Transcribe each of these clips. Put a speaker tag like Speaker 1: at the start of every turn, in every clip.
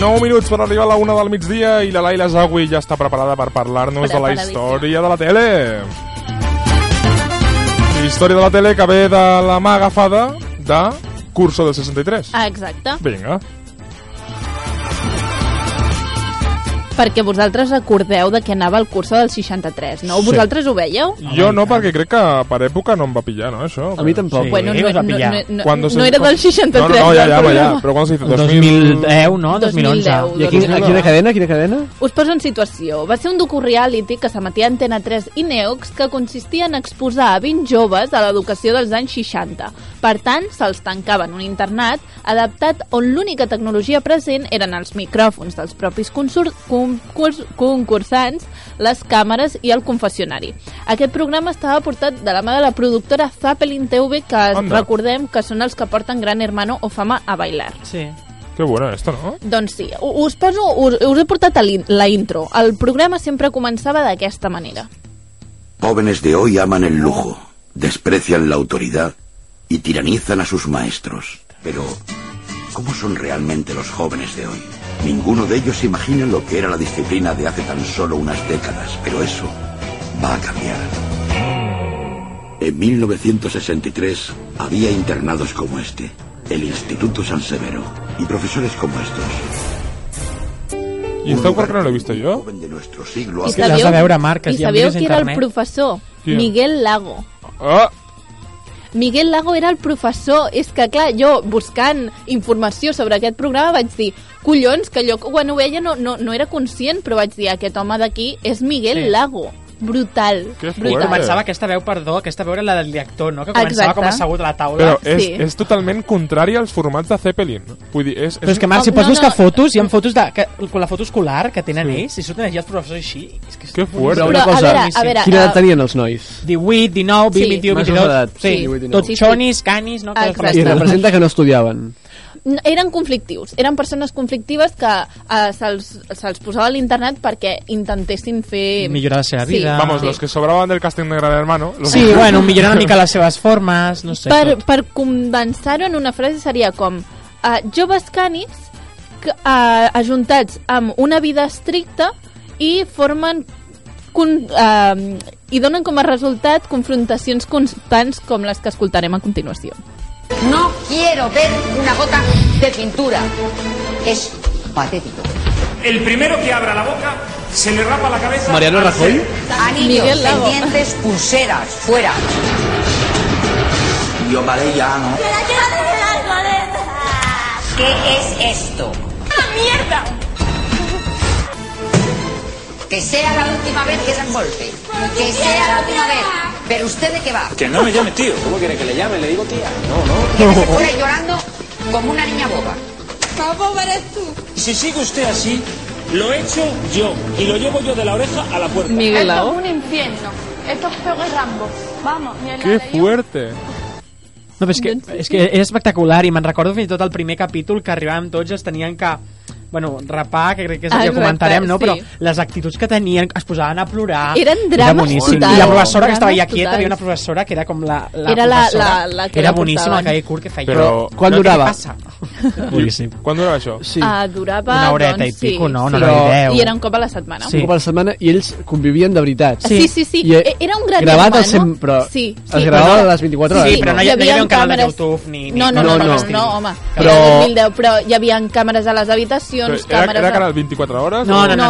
Speaker 1: 9 minuts per arribar a la 1 del migdia i la Laila Zagui ja està preparada per parlar-nos de la història de la tele. Història de la tele que ve de la mà agafada de Curso del 63.
Speaker 2: Ah, exacte.
Speaker 1: Vinga.
Speaker 2: Perquè vosaltres recordeu de què anava el curso del 63, no?
Speaker 1: Sí.
Speaker 2: Vosaltres ho veieu?
Speaker 1: Jo no, perquè crec que per època no em va pillar, no, això?
Speaker 3: A mi tampoc. Sí,
Speaker 2: Bueno, no,
Speaker 3: us
Speaker 2: no,
Speaker 3: va
Speaker 2: no,
Speaker 3: pillar.
Speaker 2: no,
Speaker 1: Cuando
Speaker 2: no,
Speaker 1: se-
Speaker 2: no era del 63.
Speaker 1: No, no, no, ja, ja,
Speaker 2: el
Speaker 1: va, ja.
Speaker 2: programa.
Speaker 1: Però quan s'ha dit? 2000...
Speaker 3: 2010, no? 2011.
Speaker 2: 2010,
Speaker 3: I aquí,
Speaker 2: doncs,
Speaker 3: aquí
Speaker 2: no.
Speaker 3: de cadena, aquí de cadena?
Speaker 2: Us poso en situació. Va ser un docu-reality que s'emetia a Antena 3 i Neox que consistia en exposar a 20 joves a l'educació dels anys 60. Per tant, se'ls tancava en un internat adaptat on l'única tecnologia present eren els micròfons dels propis consur- concurs concursants, les càmeres i el confessionari. Aquest programa estava portat de la mà de la productora Zappelin TV, que
Speaker 1: Anda.
Speaker 2: recordem que són els que porten Gran Hermano o Fama a bailar.
Speaker 4: Sí.
Speaker 1: Que bona esta, no?
Speaker 2: Doncs sí, u- us, poso, us, us he portat a l'in- la intro. El programa sempre començava d'aquesta manera.
Speaker 5: Jóvenes de hoy aman el lujo, desprecian la autoridad y tiranizan a sus maestros. Pero, ¿cómo son realmente los jóvenes de hoy? Ninguno de ellos se imagina lo que era la disciplina de hace tan solo unas décadas, pero eso va a cambiar. En 1963 había internados como este, el Instituto San Severo, y profesores como estos.
Speaker 1: I esteu per que no l'he vist jo?
Speaker 5: Joven de nuestro siglo
Speaker 2: I
Speaker 5: ha
Speaker 4: l'has de veure, Marc, que
Speaker 2: i
Speaker 4: si em
Speaker 2: sabeu
Speaker 4: mires
Speaker 2: qui era el
Speaker 4: internet.
Speaker 2: professor?
Speaker 1: Qui era?
Speaker 2: Miguel Lago.
Speaker 1: Ah!
Speaker 2: Miguel Lago era el professor. És que, clar, jo buscant informació sobre aquest programa vaig dir collons, que allò que quan ho veia no, no, no era conscient, però vaig dir aquest home d'aquí és Miguel
Speaker 4: Sí.
Speaker 2: Lago. Brutal.
Speaker 1: Que fort.
Speaker 4: I
Speaker 1: Bueno.
Speaker 4: començava aquesta veu, perdó, aquesta veu era la del director, no? Que començava
Speaker 2: Exacte.
Speaker 4: com assegut a la taula.
Speaker 1: Però és,
Speaker 2: Sí.
Speaker 1: és totalment contrari als formats de Zeppelin. Vull dir, és...
Speaker 4: Però és que, Marc, si
Speaker 2: Oh, No,
Speaker 4: pots
Speaker 2: no,
Speaker 4: buscar
Speaker 2: no.
Speaker 4: fotos, hi ha fotos de, que, con la foto escolar que tenen ells, i surten allà els professors així. És que és
Speaker 1: Que fort.
Speaker 3: Però
Speaker 2: Però,
Speaker 3: una
Speaker 2: a
Speaker 3: cosa,
Speaker 2: veure, a veure,
Speaker 3: quina
Speaker 2: eh,
Speaker 3: edat tenien els nois?
Speaker 4: 18, 19, 20,
Speaker 2: Sí.
Speaker 4: 21,
Speaker 3: Majors
Speaker 4: 22...
Speaker 3: d'edat.
Speaker 4: Sí,
Speaker 3: Sí, 18,
Speaker 4: tots
Speaker 2: sí, sí.
Speaker 4: xonis, canis, no? Coses com
Speaker 2: Exacte.
Speaker 3: I
Speaker 4: aquestes.
Speaker 3: representa que no estudiaven.
Speaker 2: N- eren conflictius, eren persones conflictives que eh, se'ls se posava a l'internat perquè intentessin fer...
Speaker 4: Millorar la seva vida.
Speaker 1: Vamos,
Speaker 4: Ah, Sí.
Speaker 1: los que sobraban del casting de Gran Hermano... Los
Speaker 4: Sí, bueno, millorar una mica les seves formes, no sé.
Speaker 2: Per,
Speaker 4: tot.
Speaker 2: per condensar-ho en una frase seria com eh, joves canis que, eh, ajuntats amb una vida estricta i formen con, eh, i donen com a resultat confrontacions constants com les que escoltarem a continuació.
Speaker 6: No quiero ver una gota de pintura. Es patético.
Speaker 7: El primero que abra la boca se le rapa la cabeza.
Speaker 3: Mariano Rajoy?
Speaker 6: Anillos,
Speaker 2: Miguel Lago.
Speaker 6: pendientes, pulseras, fuera.
Speaker 5: Yo paré ya, ¿no?
Speaker 6: ¿Qué es esto?
Speaker 8: mierda!
Speaker 6: Que sea la última vez que dan golpe. Que sea la última vez. Pero usted de qué va?
Speaker 7: Que no me llame tío.
Speaker 6: Que se pone llorando como una niña boba.
Speaker 8: ¿Cómo eres tú?
Speaker 7: Si sigue usted así, lo he hecho yo y lo llevo yo de la oreja a la puerta.
Speaker 2: Miguel
Speaker 8: Esto es
Speaker 2: Lago.
Speaker 8: un infierno. Esto es peor que Rambo. Vamos, ni en la
Speaker 1: Que
Speaker 8: ley-
Speaker 1: fuerte!
Speaker 4: No, però és que,
Speaker 2: Doncs
Speaker 4: és que era espectacular i me'n recordo fins i tot el primer capítol que arribàvem tots els tenien que bueno, rapar, que crec que és el que
Speaker 2: Exacte,
Speaker 4: comentarem, no?
Speaker 2: sí.
Speaker 4: Però les actituds que tenien, es posaven a plorar...
Speaker 2: Eren
Speaker 4: Era
Speaker 2: drames
Speaker 4: boníssim.
Speaker 2: totals,
Speaker 4: I la professora que estava allà
Speaker 2: drames
Speaker 4: quieta,
Speaker 2: totals.
Speaker 4: havia una professora que era com la, la
Speaker 2: Era la- la-
Speaker 4: professora.
Speaker 2: la que
Speaker 4: era
Speaker 2: la
Speaker 4: boníssima,
Speaker 2: portaven.
Speaker 4: que curt que feia.
Speaker 1: Però-
Speaker 3: Quan
Speaker 4: no,
Speaker 3: durava?
Speaker 4: Què passa? Boníssim.
Speaker 1: Quan durava això?
Speaker 3: Sí.
Speaker 2: Eh, durava,
Speaker 4: Una horeta
Speaker 2: doncs,
Speaker 4: i pico,
Speaker 2: sí,
Speaker 4: no?
Speaker 2: sí.
Speaker 4: Una hora i deu.
Speaker 2: I era un cop a la setmana.
Speaker 4: Sí.
Speaker 3: Un cop a la setmana i ells convivien de veritat.
Speaker 2: Sí, sí, sí. sí.
Speaker 3: I,
Speaker 2: E- Era un gran
Speaker 3: gravat
Speaker 2: hermano.
Speaker 3: al cent- però
Speaker 2: sí,
Speaker 3: es
Speaker 2: sí.
Speaker 3: gravava
Speaker 2: Però-
Speaker 3: a les 24
Speaker 4: hores,
Speaker 2: Sí,
Speaker 4: no? Però no hi- no hi havia un canal de
Speaker 2: càmeres.
Speaker 4: YouTube ni- ni-
Speaker 2: No, no,
Speaker 3: no,
Speaker 2: no, no,
Speaker 3: no,
Speaker 2: no,
Speaker 3: no.
Speaker 2: no home. Però...
Speaker 3: Però-
Speaker 2: Era 2010, però hi havia càmeres a les habitacions,
Speaker 1: Era,
Speaker 2: càmeres...
Speaker 1: era
Speaker 2: a-
Speaker 1: canal 24 hores?
Speaker 4: No,
Speaker 1: o-
Speaker 4: no,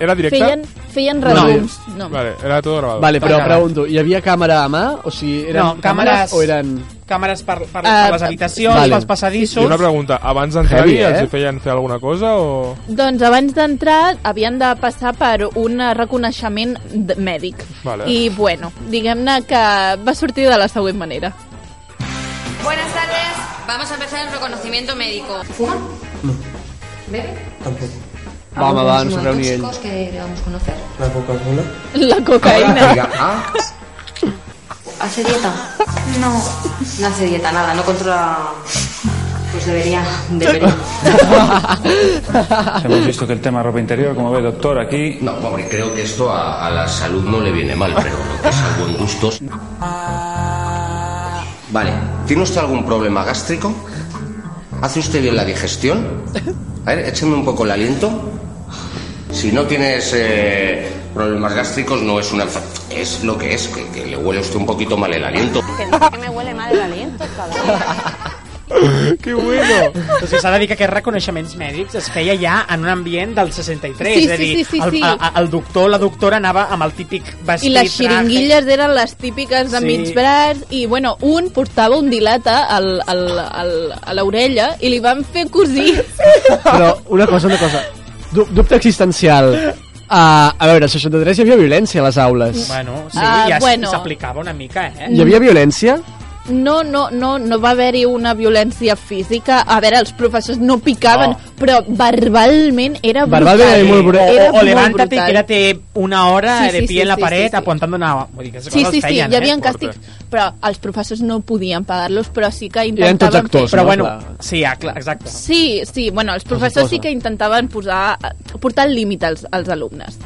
Speaker 1: Era directe?
Speaker 2: Feien, feien
Speaker 4: No.
Speaker 2: resums. No.
Speaker 1: Vale, era todo grabado.
Speaker 3: Vale, però
Speaker 4: Tocaven.
Speaker 3: pregunto, hi havia càmera a mà? O sigui, eren
Speaker 4: No, càmeres-
Speaker 3: càmeres o eren...
Speaker 4: Càmeres per, per,
Speaker 2: Eh,
Speaker 4: per les habitacions,
Speaker 3: vale.
Speaker 1: I
Speaker 4: pels
Speaker 1: una
Speaker 4: passadissos...
Speaker 1: pregunta, abans d'entrar-hi
Speaker 3: Heavy, eh?
Speaker 1: els hi feien fer alguna cosa o...?
Speaker 2: Doncs abans d'entrar havien de passar per un eh, reconeixement d- mèdic.
Speaker 1: Vale.
Speaker 2: I, bueno, diguem-ne que va sortir de la següent manera.
Speaker 9: Buenas tardes, vamos a empezar el reconocimiento médico.
Speaker 3: Va, home, va, Ah, no sabreu ni ell.
Speaker 9: que debamos conocer.
Speaker 2: La cocaïna.
Speaker 9: ¿Hace dieta? No. No hace dieta, nada, no controla... Pues debería, debería.
Speaker 7: Hemos visto que el tema ropa interior, como ve doctor aquí,
Speaker 10: No, pobre, creo que esto a, a la salud no le viene mal, pero lo que es a buen gusto. Vale, ¿tiene usted algún problema gástrico? ¿Hace usted bien la digestión? A ver, échame un poco el aliento. Si no tienes eh, problemas gástricos, no es una enfer- Es lo que es, que, que le huele a usted un poquito mal el aliento.
Speaker 11: Que dice que me huele mal el aliento, cabrón.
Speaker 1: Que bueno!
Speaker 4: O sigui, Doncs s'ha de dir que aquests reconeixements mèdics es feia ja en un ambient del 63.
Speaker 2: Sí,
Speaker 4: és a
Speaker 2: sí,
Speaker 4: dir,
Speaker 2: sí, sí,
Speaker 4: el,
Speaker 2: sí.
Speaker 4: A, el doctor, la doctora anava amb el típic vestit...
Speaker 2: I les
Speaker 4: traje.
Speaker 2: xiringuilles eren les típiques de
Speaker 4: Sí.
Speaker 2: sí. mig braç i, bueno, un portava un dilata al, al, al, a l'orella i li van fer cosir.
Speaker 3: Però una cosa, una cosa. Du dubte existencial. Uh, a veure, al 63 hi havia violència a les aules.
Speaker 4: Bueno, sí,
Speaker 2: Ah,
Speaker 4: ja s-
Speaker 2: bueno.
Speaker 4: s'aplicava una mica, eh?
Speaker 3: Hi havia violència?
Speaker 2: No, no, no, no va haver-hi una violència física. A veure, els professors no
Speaker 4: Oh.
Speaker 2: picaven, no. però verbalment era brutal.
Speaker 3: Verbalment era molt brutal.
Speaker 2: Era
Speaker 4: O, o
Speaker 2: molt
Speaker 4: levántate y
Speaker 2: brutal.
Speaker 4: quédate una hora
Speaker 2: Sí, sí,
Speaker 4: de pie
Speaker 2: sí,
Speaker 4: en la
Speaker 2: sí,
Speaker 4: pared
Speaker 2: sí, sí.
Speaker 4: apuntando una... Vull dir, que aquestes
Speaker 2: Sí,
Speaker 4: coses
Speaker 2: sí,
Speaker 4: es
Speaker 2: sí,
Speaker 4: feien,
Speaker 2: hi havia
Speaker 4: eh?
Speaker 2: càstigs, però els professors no podien pagar-los, però sí que
Speaker 4: Eren
Speaker 2: intentaven...
Speaker 4: tots
Speaker 2: fer-
Speaker 4: Però bueno, sí, ah, clar, exacte.
Speaker 2: Sí, sí, bueno, els professors sí que intentaven posar, portar el límit als, als alumnes.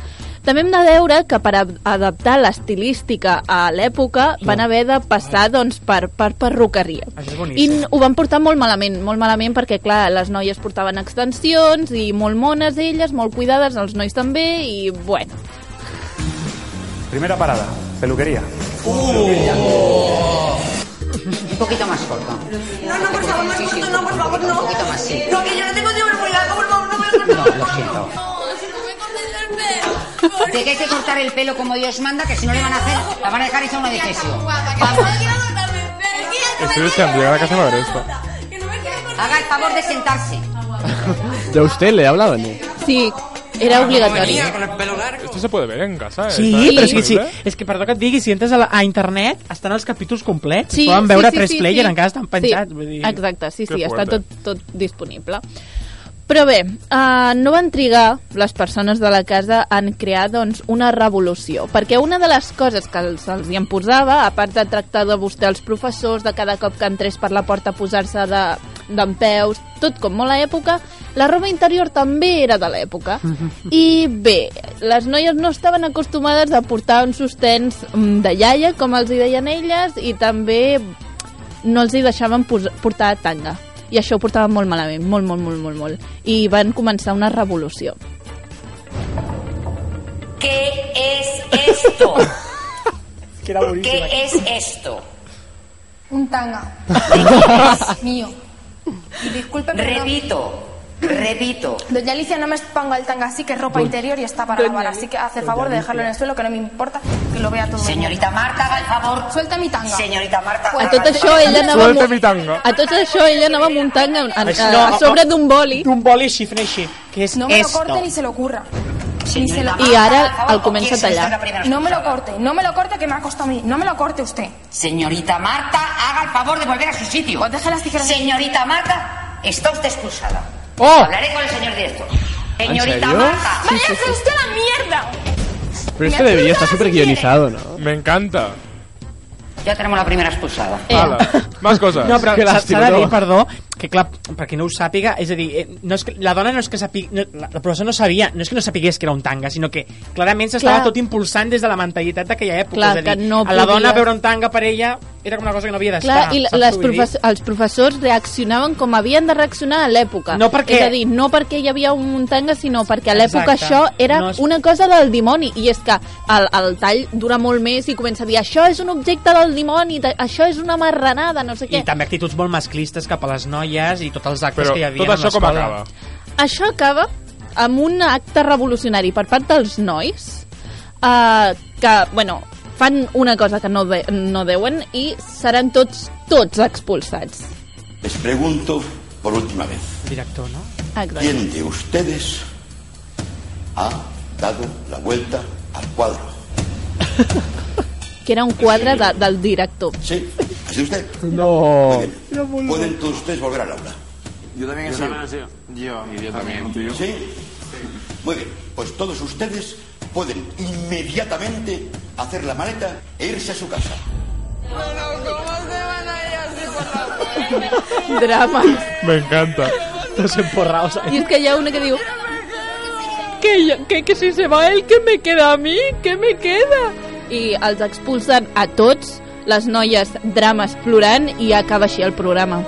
Speaker 2: També hem de veure que per a- adaptar l'estilística a l'època van haver de passar doncs, per, per perruqueria.
Speaker 4: Això és
Speaker 2: I
Speaker 4: boníssim.
Speaker 2: n- ho van portar molt malament, molt malament perquè, clar, les noies portaven extensions i molt mones elles, molt cuidades, els nois també, i bueno.
Speaker 12: Primera parada, peluquería.
Speaker 6: Un poquito más corto.
Speaker 8: No, no, por favor, más corto, no, por favor, no. Un poquito
Speaker 6: más, sí.
Speaker 8: No, que yo no tengo tiempo muy largo, por favor, no me lo
Speaker 6: No, lo siento. Te que hay que cortar el pelo como Dios manda, que si no le van a hacer, la van a dejar hecha una defesio.
Speaker 1: Estoy deseando llegar a casa a ver esto.
Speaker 6: Haga el favor de sentarse.
Speaker 3: De usted le hablaban. eh?
Speaker 2: Sí,
Speaker 4: Ah,
Speaker 2: era obligatori.
Speaker 1: Esto se puede ver en casa, eh?
Speaker 4: Sí,
Speaker 1: Está
Speaker 4: però és que sí.
Speaker 1: disponible.
Speaker 3: eh?
Speaker 4: És que, perdó que et digui, si entres a, la, a internet, estan els capítols complets.
Speaker 2: Sí,
Speaker 4: Poden veure
Speaker 2: sí, sí,
Speaker 4: tres
Speaker 2: sí,
Speaker 4: player,
Speaker 2: sí.
Speaker 4: encara estan penjats.
Speaker 2: Sí,
Speaker 4: Vull dir...
Speaker 2: Exacte, sí,
Speaker 4: Que
Speaker 2: sí, està
Speaker 4: fuerte.
Speaker 2: tot, tot disponible. Però bé, uh, no van trigar les persones de la casa en crear doncs, una revolució, perquè una de les coses que els, els hi imposava, a part de tractar de vostè els professors, de cada cop que entrés per la porta posar-se de- d'empeus, tot com molt a l'època, la roba interior també era de l'època. I bé, les noies no estaven acostumades a portar uns sostens mm, de iaia, com els hi deien elles, i també no els hi deixaven pos- portar tanga. I això ho portaven molt malament, molt, molt, molt, molt, molt. I van començar una revolució.
Speaker 6: ¿Qué es esto? ¿Qué es esto?
Speaker 8: Un tanga. Mío. Y disculpe, pero
Speaker 6: Repito, repito.
Speaker 8: no. Doña Alicia, no me ponga el tanga así, que es ropa interior y está para
Speaker 6: Doña
Speaker 8: lavar.
Speaker 6: Alicia.
Speaker 8: Así que hace favor de dejarlo en el suelo, que no me importa que lo vea todo.
Speaker 6: Señorita Marta, haga el favor.
Speaker 8: Suelta mi tanga.
Speaker 6: Señorita Marta.
Speaker 2: A tot això ella anava...
Speaker 1: Suelta
Speaker 2: amb un-
Speaker 1: mi tanga.
Speaker 2: A tot això ella anava amb un tanga a, a,
Speaker 4: Així,
Speaker 2: a,
Speaker 4: no,
Speaker 2: a sobre d'un boli.
Speaker 4: D'un boli xifre així. Que és
Speaker 8: No me
Speaker 4: esto.
Speaker 8: lo corte ni se lo ocurra. Ni se lo-
Speaker 2: I ara el comença a tallar.
Speaker 8: No me lo corte, no me lo corte que me ha costado a mí. No me lo corte Pues usted.
Speaker 6: Señorita Marta, haga el favor de volver a su sitio. Señorita Marta, está usted expulsada.
Speaker 4: ¡Oh!
Speaker 6: Hablaré con el señor director. Señorita
Speaker 3: serio?
Speaker 6: Marta.
Speaker 8: ¡Vaya usted a la mierda!
Speaker 3: Pero este esto debería estar súper guionizado, ¿no?
Speaker 1: Me encanta.
Speaker 6: Ya tenemos la primera expulsada.
Speaker 4: Eh.
Speaker 1: Hala. Más cosas.
Speaker 4: No, però
Speaker 1: Qué
Speaker 4: s'ha-
Speaker 1: lástima,
Speaker 4: s'ha de dir,
Speaker 1: no?
Speaker 4: perdó, que clar, per qui no ho sàpiga, és a dir, eh, no és que, la dona no és que sàpiga, no, la, la professora no sabia, no és que no sapigués que era un tanga, sinó que clarament s'estava
Speaker 2: Clar.
Speaker 4: tot impulsant des de la mentalitat d'aquella època.
Speaker 2: Clar,
Speaker 4: és a dir,
Speaker 2: que no
Speaker 4: a la dona
Speaker 2: podies.
Speaker 4: veure un tanga per ella era com una cosa que no havia d'estar.
Speaker 2: Clar, i
Speaker 4: saps
Speaker 2: les
Speaker 4: què vull dir?
Speaker 2: profes els professors reaccionaven com havien de reaccionar a l'època.
Speaker 4: No perquè-
Speaker 2: És a dir, no perquè hi havia un tanga, sinó perquè a l'època
Speaker 4: Exacte.
Speaker 2: això era
Speaker 4: No
Speaker 2: no
Speaker 4: es-
Speaker 2: és... una cosa del dimoni. I és que el, el tall dura molt més i comença a dir això és un objecte del dimoni, ta- això és una marranada, no sé què.
Speaker 4: I també actituds molt masclistes cap a les noies i tots els actes
Speaker 1: Però
Speaker 4: que hi havia
Speaker 1: tot
Speaker 4: en
Speaker 1: això com
Speaker 4: l'escola.
Speaker 1: acaba?
Speaker 2: Això acaba amb un acte revolucionari per part dels nois eh, que, bueno, fan una cosa que no, de, no deuen i seran tots, tots expulsats.
Speaker 5: Les pregunto por última vez.
Speaker 4: Director, no?
Speaker 2: Exacte.
Speaker 5: ¿Quién de ustedes ha dado la vuelta al cuadro?
Speaker 2: Que era un quadre de, del director.
Speaker 5: Sí, ha sido usted.
Speaker 3: No.
Speaker 5: Pueden todos ustedes volver al aula. Yo también
Speaker 13: he sido. Yo, yo también.
Speaker 5: ¿Sí? Muy bien, pues todos ustedes pueden inmediatamente hacer la maleta e irse a su casa.
Speaker 2: Drama.
Speaker 1: Me encanta.
Speaker 4: Tots emporraos.
Speaker 2: I és que hi ha una que diu... Que, jo- que, que si se va ell, que me queda a mi? Que me queda? I els expulsen a tots, les noies drames plorant i acaba així el programa.